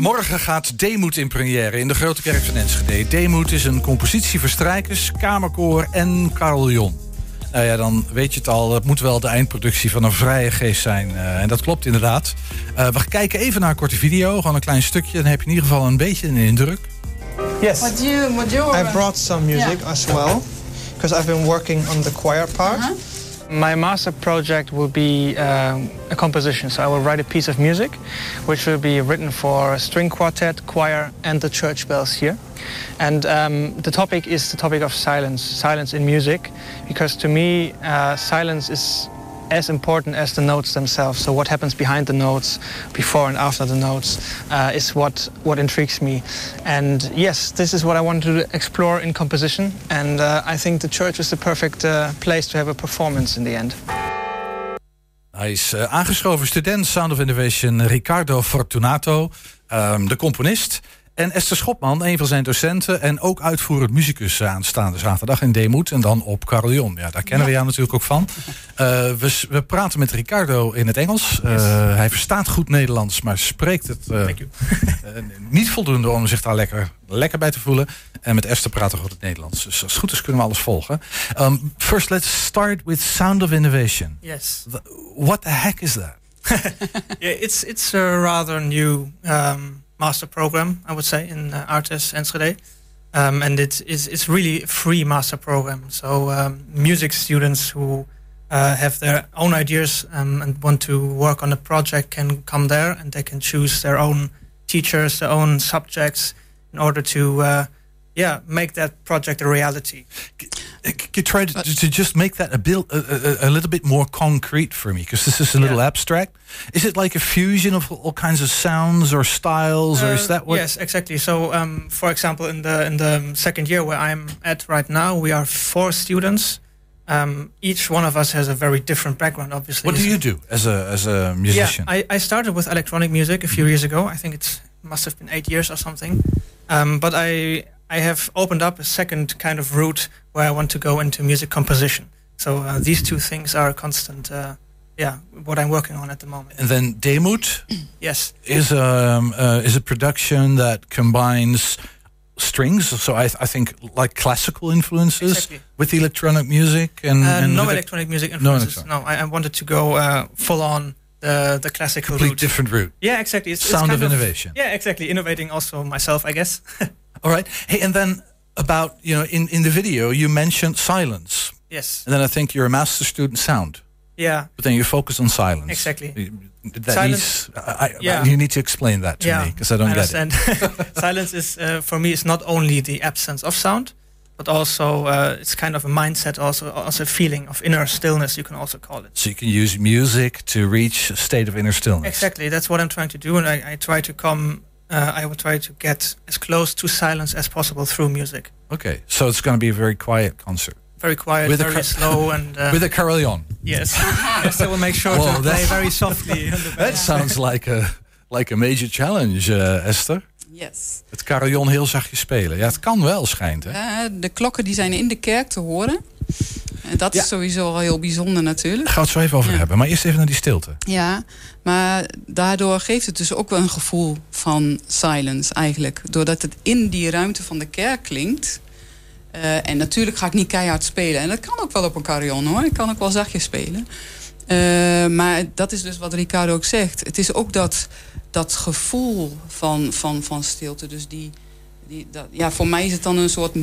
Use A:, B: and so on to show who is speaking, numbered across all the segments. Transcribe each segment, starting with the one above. A: Morgen gaat Demoed in première in de Grote Kerk van Enschede. Demoed is een compositie voor strijkers, kamerkoor en carillon. Nou ja, dan weet je het al. Het moet wel de eindproductie van een vrije geest zijn. Eh, en dat klopt inderdaad. Eh, we kijken even naar een korte video. Gewoon een klein stukje. Dan heb je in ieder geval een beetje een indruk.
B: Yes,
C: Would you, would you
B: I
D: eh?
B: brought some music as well because I've been working on the choir part.
D: My master project will be um, a composition. So I will write a piece of music, which will be written for string quartet, choir, and the church bells here. And um, the topic is the topic of silence, silence in music, because to me, uh, silence is as important as the notes themselves. So what happens behind the notes, before and after the notes, uh, is what what intrigues me. And yes, this is what I want to explore in composition. And uh, I think the church is the perfect uh, place to have a performance in the end.
A: Hij is eh, aangeschoven student Sound of Innovation Ricardo Fortunato, ehm, de componist. En Esther Schopman, een van zijn docenten en ook uitvoerend muzikus eh, aanstaande zaterdag in Demoed en dan op Carillon. Ja, daar kennen we jou natuurlijk ook van. Eh, we, s- we praten met Ricardo in het Engels. Eh, hij verstaat goed Nederlands, maar spreekt het eh, eh, niet voldoende om zich daar lekker, lekker bij te voelen. En met Esther praten we goed het Nederlands. Dus als het goed is kunnen we alles volgen. Um, first, let's start with Sound of Innovation.
E: Yes.
A: Th- What the heck is that?
E: Yeah, it's it's a rather new um, master program, I would say, in uh, Artes Enschede. Um, and it is it's really a free master program. So um, music students who uh, have their own ideas um, and want to work on a project can come there, and they can choose their own teachers, their own subjects, in order to uh, yeah make that project a reality.
A: C- Could you try
E: Uh,
A: to, to just make that a, bil- a, a, a little bit more concrete for me? Because this is a little
E: Yeah.
A: abstract. Is it like a fusion of all kinds of sounds or styles, or is
E: Uh,
A: that what?
E: Yes, exactly. So, um, for example, in the in the second year where I'm at right now, we are four students. Um, each one of us has a very different background, obviously.
A: What do you do as a as a musician? Mm-hmm.
E: Yeah, I, I started with electronic music a few years ago. I think it must have been eight years or something. Um, but I I have opened up a second kind of route where I want to go into music composition. So uh, these two things are constant. Uh, yeah, what I'm working on at the moment.
A: and then Demut
E: Yes.
A: is um, uh, is a production that combines strings. So I, I think like classical influences
E: Exactly.
A: with electronic music and,
E: Uh,
A: Mm, and
E: no
A: with a
E: electronic music influences.
A: electronic.
E: No, I, I wanted to go uh, full on the the classical
A: complete
E: route.
A: different route.
E: Yeah, exactly. It's, it's
A: Sound
E: kind
A: of innovation.
E: Yeah, exactly. Innovating also myself, I guess.
A: All right. Hey, and then about you know in in the video you mentioned silence,
E: yes.
A: and then I think you're a master student sound,
E: Yeah.
A: but then you focus on silence.
E: Exactly.
A: That needs.
E: Silence-
A: I, I-
E: Yeah.
A: You need to explain that to
E: yeah.
A: me because I don't get it.
E: understand. Silence is uh, for me is not only the absence of sound, but also uh, it's kind of a mindset, also also a feeling of inner stillness. You can also call it.
A: So you can use music to reach a state of inner stillness.
E: Exactly. That's what I'm trying to do, and I, I try to come. Uh, I will try to get as close to silence as possible through music.
A: Okay. So it's going to be a very quiet concert
E: Very quiet,
A: With a
E: very
A: cur-
E: slow, and uh,
A: with a carillon.
E: Yes. yes, I will make sure
A: Whoa,
E: to play
A: that's-
E: very softly. on the
A: That
E: bass.
A: sounds like a like a major challenge, eh, Esther.
F: Yes.
A: Het carillon heel zachtjes spelen. Ja, het kan wel schijnt. Hè?
F: Eh, de klokken die zijn in de kerk te horen. En dat
A: Ja.
F: is sowieso al heel bijzonder natuurlijk.
A: Daar gaan we het zo even over
F: Ja.
A: hebben. Maar eerst even naar die stilte.
F: Ja, maar daardoor geeft het dus ook wel een gevoel van silence eigenlijk. Doordat het in die ruimte van de kerk klinkt. Eh, en natuurlijk ga ik niet keihard spelen. En dat kan ook wel op een carillon hoor. Ik kan ook wel zachtjes spelen. Eh, maar dat is dus wat Ricardo ook zegt. Het is ook dat, dat gevoel van, van, van stilte. Dus die, die, dat, ja, voor mij is het dan een soort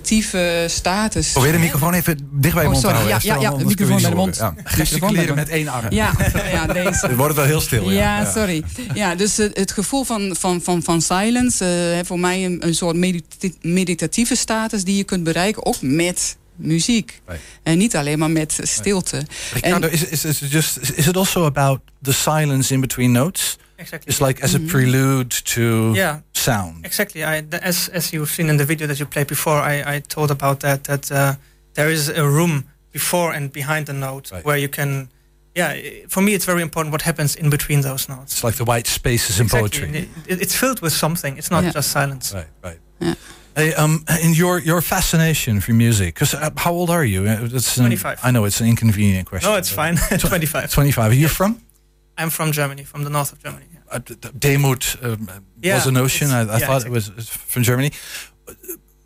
F: meditatieve status.
G: Probeer de microfoon even dicht bij je
F: Oh,
G: mond te
F: sorry.
G: houden.
F: Ja,
G: Esther,
F: ja, ja, de
G: anders kunnen we
F: microfoon
G: niet
F: bij de
G: horen. Ja.
A: Gesticuleren met één arm.
F: Ja, ja, deze.
G: Het wordt wel heel stil.
F: Ja,
G: Ja.
F: sorry. Ja, dus eh, het gevoel van, van, van, van silence, eh, hè, voor mij een, een soort medita- meditatieve status die je kunt bereiken, ook met muziek.
A: Right.
F: En niet alleen maar met stilte.
A: Ricardo, is, is, is, it just, is it also about the silence in between notes?
E: exactly.
A: It's like
F: Mhm.
A: as a prelude to
E: yeah,
A: sound.
E: exactly. I, th- as as you've seen in the video that you played before, I, I told about that that uh, there is a room before and behind the note
A: Right.
E: where you can. Yeah, i- for me it's very important what happens in between those notes.
A: It's like the white spaces in poetry.
E: Exactly. It- it's filled with something. It's not
F: Yeah.
E: just silence.
A: Right, right.
F: Yeah.
A: Hey, um, and your your fascination for music. Because uh, how old are you? Uh, That's an-
E: 25.
A: I know it's an inconvenient question.
E: No, it's
A: but-
E: fine. Twenty-five.
A: Twenty-five. Are you from?
E: I'm from Germany, from the north of Germany. yeah.
A: uh, Demut um,
E: Yeah,
A: was a notion. I, I
E: it's- yeah,
A: thought it was from Germany.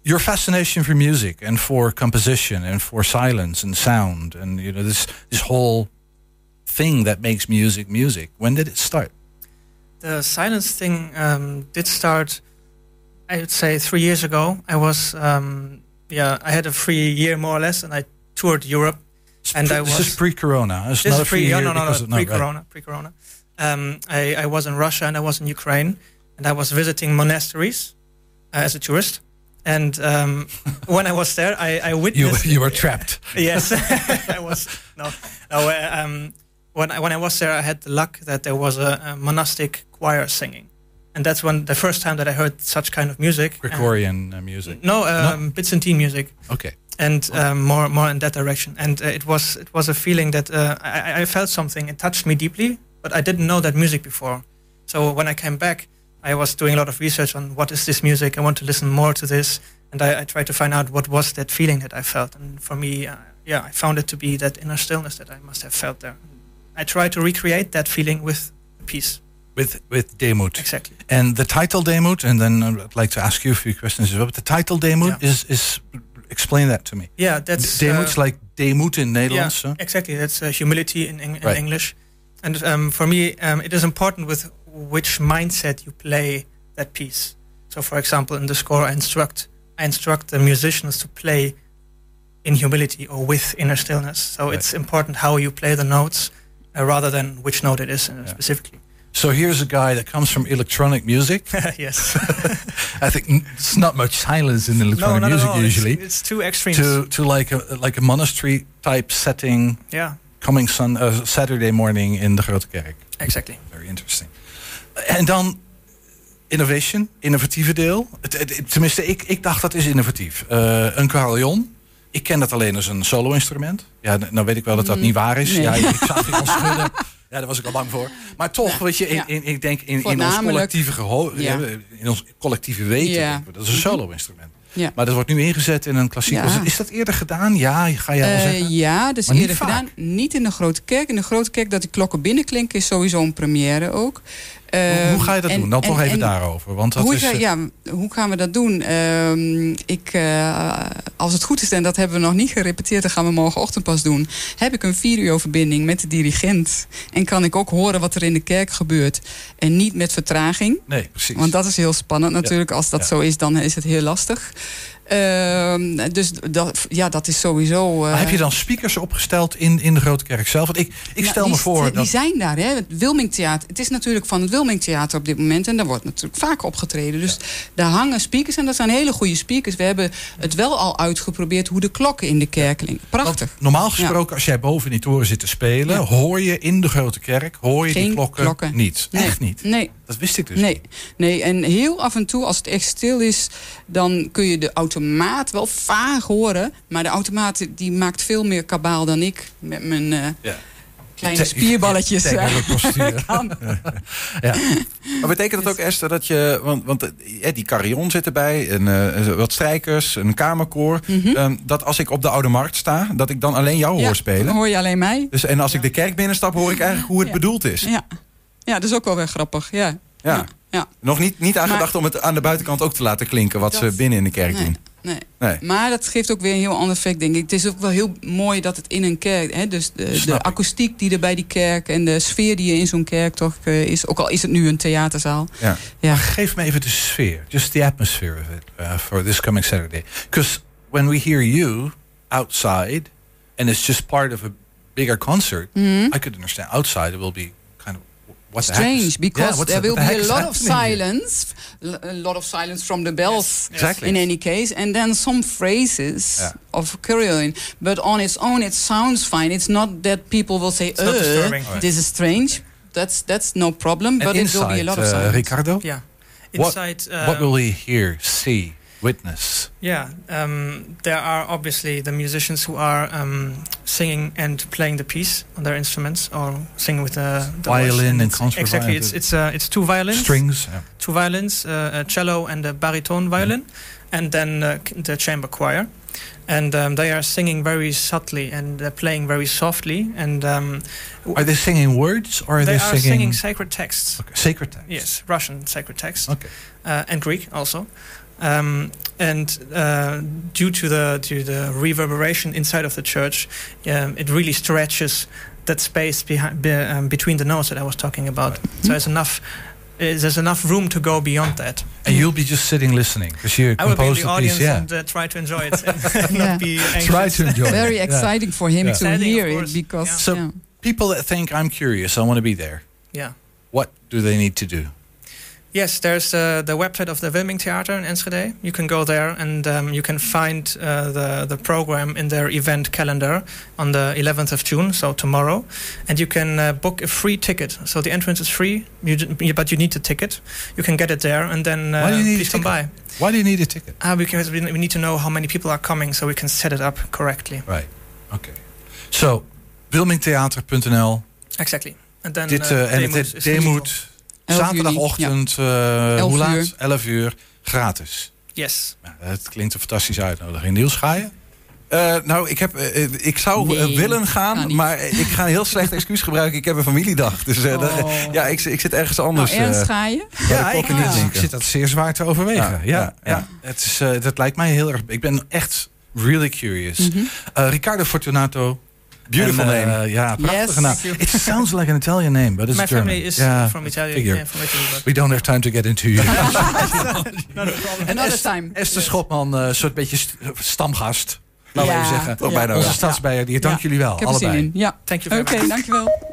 A: Your fascination for music and for composition and for silence and sound and you know this this whole thing that makes music music. When did it start?
E: The silence thing um, did start, I would say, three years ago. I was, um, yeah, I had a free year more or less, and I toured Europe.
A: It's
E: And
A: pre-
E: I
A: this is
E: was-
A: pre-corona. It's
E: This
A: not
E: is
A: a free
E: pre,
A: year
E: oh, no, no,
A: because
E: no,
A: of- right.
E: pre-corona, pre-corona. Um, I, I was in Russia and I was in Ukraine, and I was visiting monasteries uh, as a tourist. And um, when I was there, I, I
A: You
E: witnessed.
A: you were trapped.
E: yes, I was no, no. uh, Um, when I, when I was there, I had the luck that there was a, a monastic choir singing, and that's when the first time that I heard such kind of music. And-
A: Gregorian uh, music.
E: no, um, Byzantine music
A: Okay.
E: and um, more more in that direction. And uh, it was it was a feeling that uh, I, I- I felt something. It touched me deeply, but I didn't know that music before. So when I came back, I was doing a lot of research on what is this music. I want to listen more to this, and I, I tried to find out what was that feeling that I felt. And for me, uh, yeah, I found it to be that inner stillness that I must have felt there. I tried to recreate that feeling with peace.
A: With with Demut.
E: Exactly.
A: And the title Demut, and then I'd like to ask you a few questions as well. But the title Demut is is explain that to me.
E: Yeah, that's
A: Demut Demoet's
E: uh,
A: like Demoet in Nederlands.
E: Yeah,
A: hè?
E: exactly. That's uh, humility in, Eng- in
A: Right.
E: English. And um, for me, um, it is important with which mindset you play that piece. So, for example, in the score, I instruct I instruct the musicians to play in humility or with inner stillness. So
A: Right.
E: it's important how you play the notes uh, rather than which note it is uh, specifically.
A: So here's a guy that comes from electronic music.
E: yes.
A: I think n- it's not much silence in electronic music
E: It's-
A: usually.
E: It's, two extremes.
A: to to like a like a monastery type setting
E: yeah,
A: coming sun, eh, Saturday morning in de grote kerk.
E: exactly.
A: Very interesting. En dan innovation, innovatieve deel. Het- het- het- tenminste, ik, ik dacht dat is innovatief. Eh, een carillon. Ik ken dat alleen als een solo-instrument. Ja, n- nou weet ik wel dat dat niet waar is.
F: Mm, nee.
A: Ja, ik zag het al schudden. Ja, daar was ik al bang voor. Maar toch, weet je, in,
F: ja.
A: in, ik denk in, in ons
F: Voornamelijk-
A: collectieve geho-
F: Ja.
A: in ons collectieve weten,
F: Ja.
A: denken we, dat is een solo-instrument.
F: Ja.
A: Maar dat wordt nu ingezet in een klassiek.
F: Ja.
A: concert. Is dat eerder gedaan? Ja, ga jij wel
F: Eh,
A: zeggen.
F: ja, dus
A: Maar niet
F: eerder
A: vaak.
F: gedaan. Niet in de grote kerk. In de grote kerk dat die klokken binnenklinken is sowieso een première ook.
A: Hoe- hoe ga je dat
F: Ehm,
A: doen? Dan
F: en-
A: toch even
F: en-
A: daarover. Want dat
F: hoe,
A: is,
F: ga-
A: eh,
F: ja, hoe gaan we dat doen? Ehm, ik, eh, als het goed is, en dat hebben we nog niet gerepeteerd, dat gaan we morgenochtend pas doen. Heb ik een vier uur verbinding met de dirigent. En kan ik ook horen wat er in de kerk gebeurt. En niet met vertraging.
A: nee, precies.
F: Want dat is heel spannend natuurlijk. Als dat
A: Ja.
F: zo is, dan is het heel lastig. Ehm, dus dat, ja, dat is sowieso. eh,
A: Maar heb je dan speakers opgesteld in, in de grote kerk zelf? Want ik, ik
F: nou,
A: stel
F: die,
A: me voor
F: Die
A: dat.
F: zijn daar, hè? Het Wilmingtheater. Het is natuurlijk van het Wilmingtheater op dit moment. En daar wordt natuurlijk vaak opgetreden. Dus daar hangen speakers en dat zijn hele goede speakers. We hebben het wel al uitgeprobeerd hoe de klokken in de kerk klinken.
A: want
F: Prachtig.
A: normaal gesproken, als jij boven in die toren zit te spelen,
F: Ja.
A: hoor je in de grote kerk hoor je die
F: Geen
A: klokken,
F: klokken.
A: niet.
F: Nee.
A: Echt niet.
F: Nee,
A: Dat wist ik dus.
F: nee,
A: niet.
F: nee. En heel af en toe, als het echt stil is, dan kun je de automaat wel vaag horen. Maar de automaat die maakt veel meer kabaal dan ik met mijn eh,
A: Ja.
F: kleine
A: Te-
F: spierballetjes.
A: te-
F: eh,
A: hele postuur.
F: kan.
G: Maar betekent dat ook, Esther, dat je... Want, want eh, die carillon zit erbij, en, eh, wat strijkers, een kamerkoor. ehm, dat als ik op de Oude Markt sta, dat ik dan alleen jou
F: Mhm. Ja,
G: hoor spelen.
F: dan hoor je alleen mij?
G: Dus, en als ik de kerk binnenstap, hoor ik eigenlijk hoe het
F: Ja.
G: bedoeld is. Ja.
F: Ja. ja, dat is ook wel weer grappig. Ja. Ja. ja.
G: Nog niet, niet aan
F: Maar-
G: gedacht om het aan de buitenkant ook te laten klinken... wat
F: Dat-
G: ze binnen in de kerk
F: Nee,
G: doen.
F: nee.
G: Nee.
F: Maar dat geeft ook weer een heel ander effect, denk ik. Het is ook wel heel mooi dat het in een kerk... Hè, dus de,
G: Snap
F: de
G: ik.
F: akoestiek die er bij die kerk... en de sfeer die er in zo'n kerk toch eh, is... ook al is het nu een theaterzaal.
G: Ja.
F: Ja.
A: Geef me even de sfeer, just the atmosphere of it uh, for this coming Saturday. Because when we hear you outside, and it's just part of a bigger concert, I could understand. Outside it will be kind of what the heck is-
F: Mm-hmm. Strange, because
A: Yeah, what's the-
F: there will
A: what the heck
F: be a
A: is
F: lot of
A: happening here?
F: silence. l- A lot of silence from the bells
A: Exactly.
F: in any case. And then some phrases
A: Ja.
F: of Kyrillian. But on its own it sounds fine. It's not that people will say...
E: not
F: "Uh,
E: disturbing."
F: this is strange. That's, that's no problem.
A: And
F: But it will be a lot of
A: uh,
F: silence.
A: Ricardo,
E: Yeah.
A: What-
E: Inside,
A: what
E: um,
A: will we hear, see, witness?
E: Yeah, um, there are obviously the musicians who are um, singing and playing the piece on their instruments or singing with the, the voice.
A: Violin and
E: it's-
A: contraviolin.
E: Exactly, it's it's uh, it's two violins,
A: Strings. yeah.
E: two violins, uh, a cello and a baritone violin, and then uh, c- the chamber choir. and um, they are singing very subtly and they're playing very softly. And um,
A: Are they singing words or are
E: they
A: they,
E: are singing sacred texts.
A: Okay, sacred text?
E: Yes, Russian sacred texts
A: Okay.
E: uh, and Greek also. Um, and uh, due to the to the reverberation inside of the church, um, it really stretches that space behind be, um, between the notes that I was talking about. So there's enough eh, there's enough room to go beyond that.
A: And you'll be just sitting listening because you
E: I will be in
A: composed
E: the
A: the piece.
E: audience
A: Yeah.
E: and uh, try to enjoy it and not
F: Yeah.
E: be anxious.
A: Try to enjoy. it.
F: Very
A: Yeah.
F: exciting for him
A: Yeah.
F: to
E: Exciting, of
F: hear it
E: course.
F: because.
A: So-
F: yeah.
A: People that think I'm curious, I want to be there.
E: Yeah.
A: What do they need to do?
E: Yes, there's uh, the website of the Wilming Theater in Enschede. You can go there and um, you can find uh, the, the program in their event calendar on the 11th of June, so tomorrow. And you can uh, book a free ticket. So the entrance is free, you, d- but you need the ticket. You can get it there and then uh,
A: Why do you need a
E: please come by.
A: ticket? Why do you need a ticket?
E: Ah, because we, we need to know how many people are coming so we can set it up correctly.
A: Right. Oké. Zo, wilmingtheater.nl.
E: Exactly. And then,
A: Dit,
E: uh,
A: eh, en
E: Demuth
A: het
E: is legal.
A: demoed
F: juli,
A: zaterdagochtend, eh,
F: Elf
A: hoe
F: uur.
A: laat? 11 uur, gratis.
E: Yes.
A: Nou, het klinkt een fantastische uitnodiging. Niels, ga je?
G: Eh, nou, ik, heb, eh, eh, ik zou eh,
F: Nee,
G: willen
F: ga
G: gaan,
F: niet.
G: maar ik ga een heel slecht excuus gebruiken. Ik heb een familiedag. Dus eh, dat-
F: Oh.
G: ja, ik, ik zit ergens
F: Nou,
G: anders. eh,
F: Ernst, ga je?
G: waar de klokken niet
A: ik
G: zinken.
A: zit dat zeer zwaar te overwegen. Ja,
G: Ja,
A: ja,
G: ja, ja.
A: Het is, eh, dat lijkt mij heel erg. Ik ben echt really curious.
F: Mhm.
A: Eh, Riccardo Fortunato.
G: Beautiful
A: En, eh,
G: name.
A: ja, prachtige
F: Yes.
A: naam. It sounds like an Italian name, but it's
E: My
A: German.
E: family is
A: Yeah,
E: from Italy.
A: figure.
E: Yeah, from Italy but
A: We don't have time to get into you. en
F: Another
A: Esther,
F: time.
A: Esther Schopman, een soort beetje st- stamgast. Laten we
F: Ja.
A: even zeggen.
G: Toch bijna wel.
A: Onze stadsbeier, die dank
F: Ja.
A: jullie wel.
F: Ik heb er
A: allebei.
F: zin in. Ja.
E: thank you
F: Oké,
E: very much.
F: dankjewel.